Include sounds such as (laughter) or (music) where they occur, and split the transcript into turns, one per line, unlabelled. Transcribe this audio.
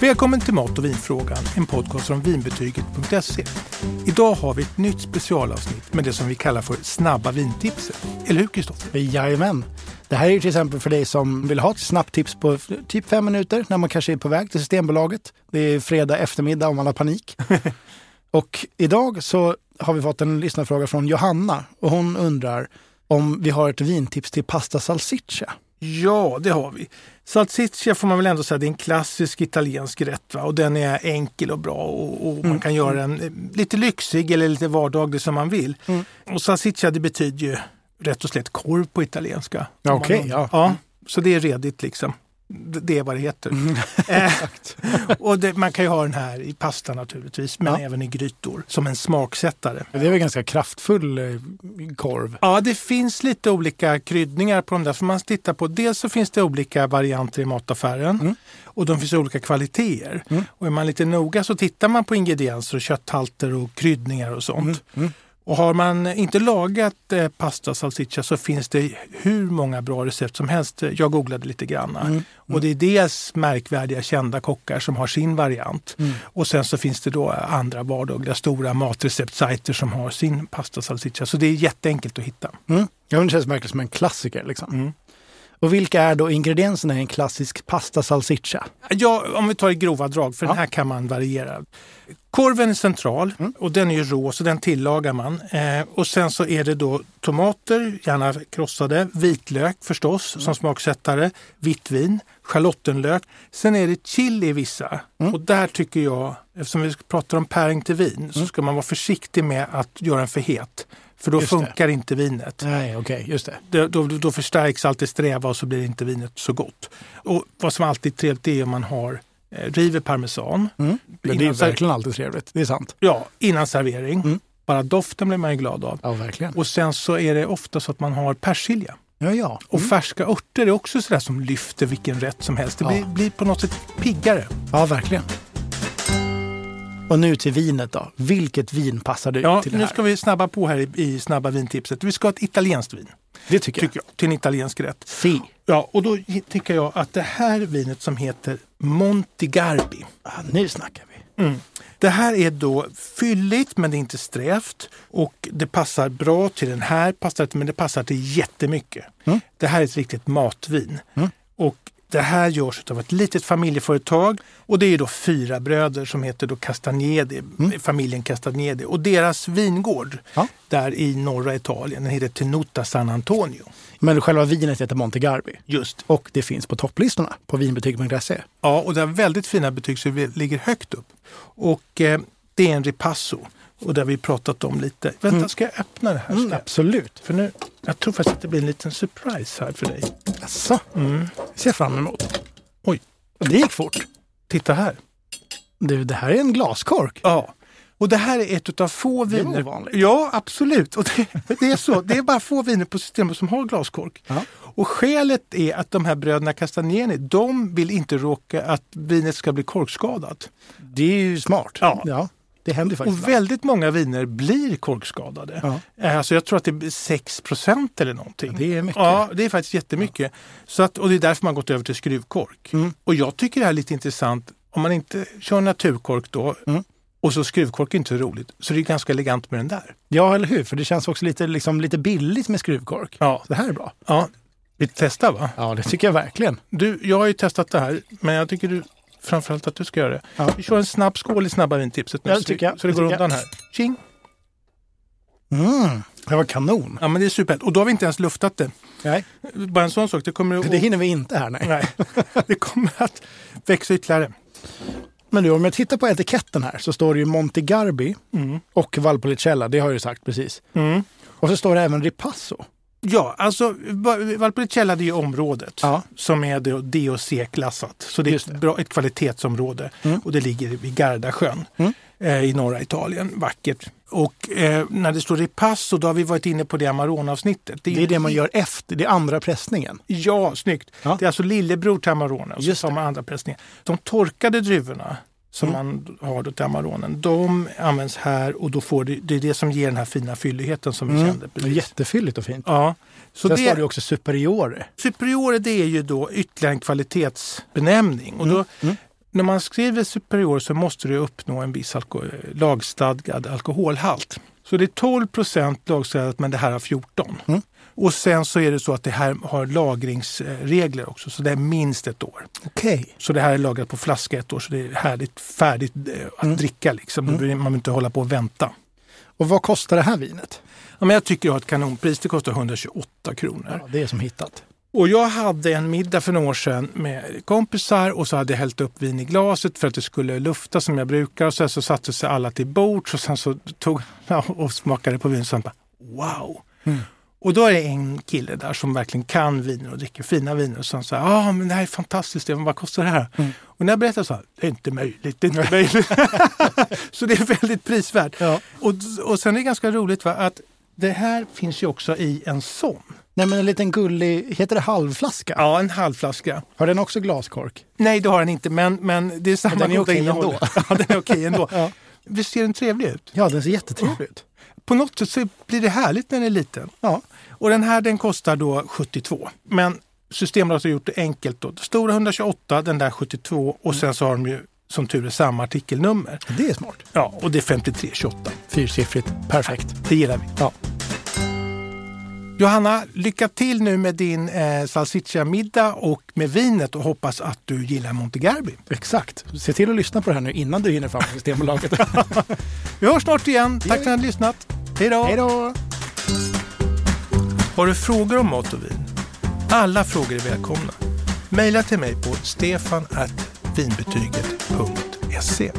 Välkommen till Mat och vinfrågan, en podcast från vinbetyget.se. Idag har vi ett nytt specialavsnitt med det som vi kallar för snabba vintipset. Eller hur Kristoffer?
Jajamän. Det här är ju till exempel för dig som vill ha ett snabbt tips på f- typ fem minuter när man kanske är på väg till Systembolaget. Det är fredag eftermiddag om man har (laughs) panik. och idag så har vi fått en lyssnarfråga från Johanna och hon undrar om vi har ett vintips till pasta salsiccia.
Ja, det har vi. Salsiccia får man väl ändå säga det är en klassisk italiensk rätt. Va? Och den är enkel och bra och, och man kan göra den eh, lite lyxig eller lite vardaglig som man vill. Och salsiccia det betyder ju rätt och slätt korv på italienska.
Ja,
Om man
okej,
undrar.
ja.
ja. Så det är redigt liksom. D- Det är vad det heter.
Mm.
(laughs) Eh, och det, man kan ju ha den här i pasta naturligtvis, men
Ja.
även i grytor som en smaksättare.
Det är väl ganska kraftfull eh, korv.
Ja, det finns lite olika kryddningar på de där. För man tittar på, dels så finns det olika varianter i mataffären och de finns i olika kvaliteter. Och är man lite noga så tittar man på ingredienser och kötthalter och kryddningar och sånt. Och har man inte lagat eh, pasta salsiccia så finns det hur många bra recept som helst. Jag googlade lite grann. Och det är dels märkvärdiga kända kockar som har sin variant.
Mm.
Och sen så finns det då andra vardagliga stora matreceptsajter som har sin pasta salsiccia. Så det är jätteenkelt att hitta.
Mm. Ja, men det känns verkligen som en klassiker. Liksom.
Mm.
Och vilka är då ingredienserna i en klassisk pasta salsiccia?
Ja, om vi tar i grova drag, för den
Ja. Mm.
här kan man variera. Korven är central och den är ju rå så den tillagar man. Eh, och sen så är det då tomater, gärna krossade, vitlök förstås
Mm.
som smaksättare, vitt vin, schalottenlök. Sen är det chili i vissa
Mm.
och där tycker jag, eftersom vi pratar om päring till vin,
Mm.
så ska man vara försiktig med att göra den för het. För då
Just det.
funkar inte vinet
Nej, okej, just det.
det, då, då förstärks allt det sträva och så blir inte vinet så gott. Och vad som alltid är trevligt är om man har eh, river parmesan
Men Mm. det är ju
innan, ser-
verkligen alltid trevligt. Det är sant.
ja, innan servering. Bara doften blir man ju glad av.
Ja, verkligen.
Och sen så är det ofta så att man har persilja.
Ja, ja. Mm.
Och färska örter är också sådär som lyfter vilken rätt som helst. Det
Ja.
blir, blir på något sätt piggare.
Ja, verkligen. Och nu till vinet då. Vilket vin passar du
Ja,
till det
nu
här?
ska vi snabba på här i, i snabba vintipset. Vi ska ha ett italienskt vin,
Det tycker jag.
tycker jag, till en italiensk rätt.
Si.
Ja, och då hi- tycker jag att det här vinet som heter Monti Garbi.
Ja, nu snackar vi.
Det här är då fylligt men det är inte strävt och det passar bra till den här, passar, inte, men det passar till jättemycket. Det här är ett riktigt matvin. Och det här görs av ett litet familjeföretag och det är då fyra bröder som heter då Castagnedi, familjen Castagnedi och deras vingård
Ja.
där i norra Italien, den heter Tenuta San Antonio.
Men själva vinet heter Monte Garbi.
Just.
Och det finns på topplistorna på vinbetyg.se.
Ja, och det har väldigt fina betyg så vi ligger högt upp. Och eh, det är en ripasso. Och där vi pratat om lite. Vänta, ska jag öppna det här?
Mm,
snabbt?
absolut.
För nu, jag tror faktiskt att det blir en liten surprise här för dig.
Jaså? Det ser jag fram emot.
Mm. Oj,
Och det gick fort.
titta här.
Du, det här är en glaskork.
Ja. Och det här är ett av få
Det var
viner.
ovanligt.
Ja, absolut. Och det, (laughs) det är så. Det är bara få viner på systemet som har glaskork.
Ja.
Och skälet är att de här bröderna Castagnini, de vill inte råka att vinet ska bli korkskadat.
Det är ju smart.
Ja.
det händer ju faktiskt.
Och väldigt många viner blir korkskadade.
Ja.
Eh, Alltså jag tror att det är 6 eller någonting.
Ja, det är mycket.
Ja, det är faktiskt jättemycket. Så att, och det är därför man gått över till skruvkork.
Mm.
Och jag tycker det här är lite intressant. Om man inte kör naturkork då
Mm.
och så skruvkork är inte så roligt. Så det är ganska elegant med den där.
ja, eller hur? För det känns också lite, liksom, lite billigt med skruvkork.
Ja.
Så det här är bra.
ja. Vi testar va?
Ja, det tycker jag verkligen.
Du, jag har ju testat det här men jag tycker du framförallt att du ska göra det.
Ja.
Vi kör en snabb skål i snabba vintipset nu.
Ja, det
så det-
tycker jag.
Så det
Det
går
tycker jag.
undan här. Tjing!
Mm. Det var kanon.
Ja men det är superhärligt. Och då har vi inte ens luftat det.
Nej.
Bara en sån sak, det kommer att...
Det hinner vi inte här, nej.
Nej, det kommer att växa ytterligare.
Men du, om jag tittar på etiketten här så står det ju Monte Garbi och Valpolicella, det har jag ju sagt precis. Och så står det även Ripasso.
Ja, alltså Va- Valpolicella det är ju området
Ja.
som är då D och C-klassat. Så det är
Just Mm.
ett, bra, ett kvalitetsområde och det ligger vid Gardasjön eh, i norra Italien. Vackert. Och eh, när det står Ripasso, då har vi varit inne på det Amarone-avsnittet. Det är
Det
ju-
är det man gör efter, det är andra pressningen.
Ja, snyggt.
Ja.
Det är alltså lillebror till Amaronen.
Just
Just man andra pressningar. De torkade druvorna som
Mm.
man har då till Amaronen, de används här och då får det, det är det som ger den här fina fylligheten som vi kände.
Det är
Precis.
jättefylligt och fint.
Ja. Så
Sen Mm. står
det,
det ju också Superiore.
superiore det är ju då ytterligare en kvalitetsbenämning. Och då, När man skriver superior så måste du uppnå en viss alko lagstadgad alkoholhalt. Så det är 12 procent lagstadgat men det här har 14.
Mm.
Och sen så är det så att det här har lagringsregler också så det är minst ett år.
Okej.
Så det här är lagrat på flaska ett år så det är härligt färdigt eh, att dricka liksom. Man behöver inte hålla på och vänta.
Och vad kostar det här vinet?
Ja, men jag tycker jag har ett kanonpris. Det kostar 128 kronor.
Ja, det är som hittat.
Och jag hade en middag för några år sedan med kompisar och så hade jag hällt upp vin i glaset för att det skulle lufta som jag brukar. Och sen så satte sig alla till bords och sen så tog ja, (laughs) och smakade på vin och sen bara wow. Och då är det en kille där som verkligen kan viner och dricker fina viner och sen så här, ja ah, men det här är fantastiskt, Stefan, vad kostar det här? Och när jag berättade så här, det är inte möjligt, det är inte (laughs) möjligt. så det är väldigt prisvärt.
Ja.
Och, och sen är det ganska roligt va, att det här finns ju också i en sån.
Nej, men en liten gullig, heter det halvflaska?
Ja, en halvflaska.
Har den också glaskork?
Nej, det har den inte, men, men det är samma
Den är
goda
okej
innehåll.
ändå.
(laughs) ja, den är okej ändå.
(laughs) Ja.
Visst ser den trevlig ut?
Ja, den ser jättetrevlig ut.
På något sätt så blir det härligt när den är liten.
Ja.
Och den här den kostar då 72. Men Systembolaget har gjort det enkelt. Då. Stora 128, den där 72 och sen så har de ju som tur är samma artikelnummer.
Det är smart.
Ja, och det är 5328.
Fyrsiffrigt. Perfekt.
Det gillar vi.
Ja.
Johanna, lycka till nu med din eh, salsiccia-middag och med vinet och hoppas att du gillar Montegarbi.
Exakt. Se till att lyssna på det här nu innan du hinner fram till Systembolaget.
Vi hörs snart igen. Tack för att ni har lyssnat. Hej då!
(laughs) Hej då!
Har du frågor om mat och vin? Alla frågor är välkomna. Mejla till mig på stefanvinbetyget.se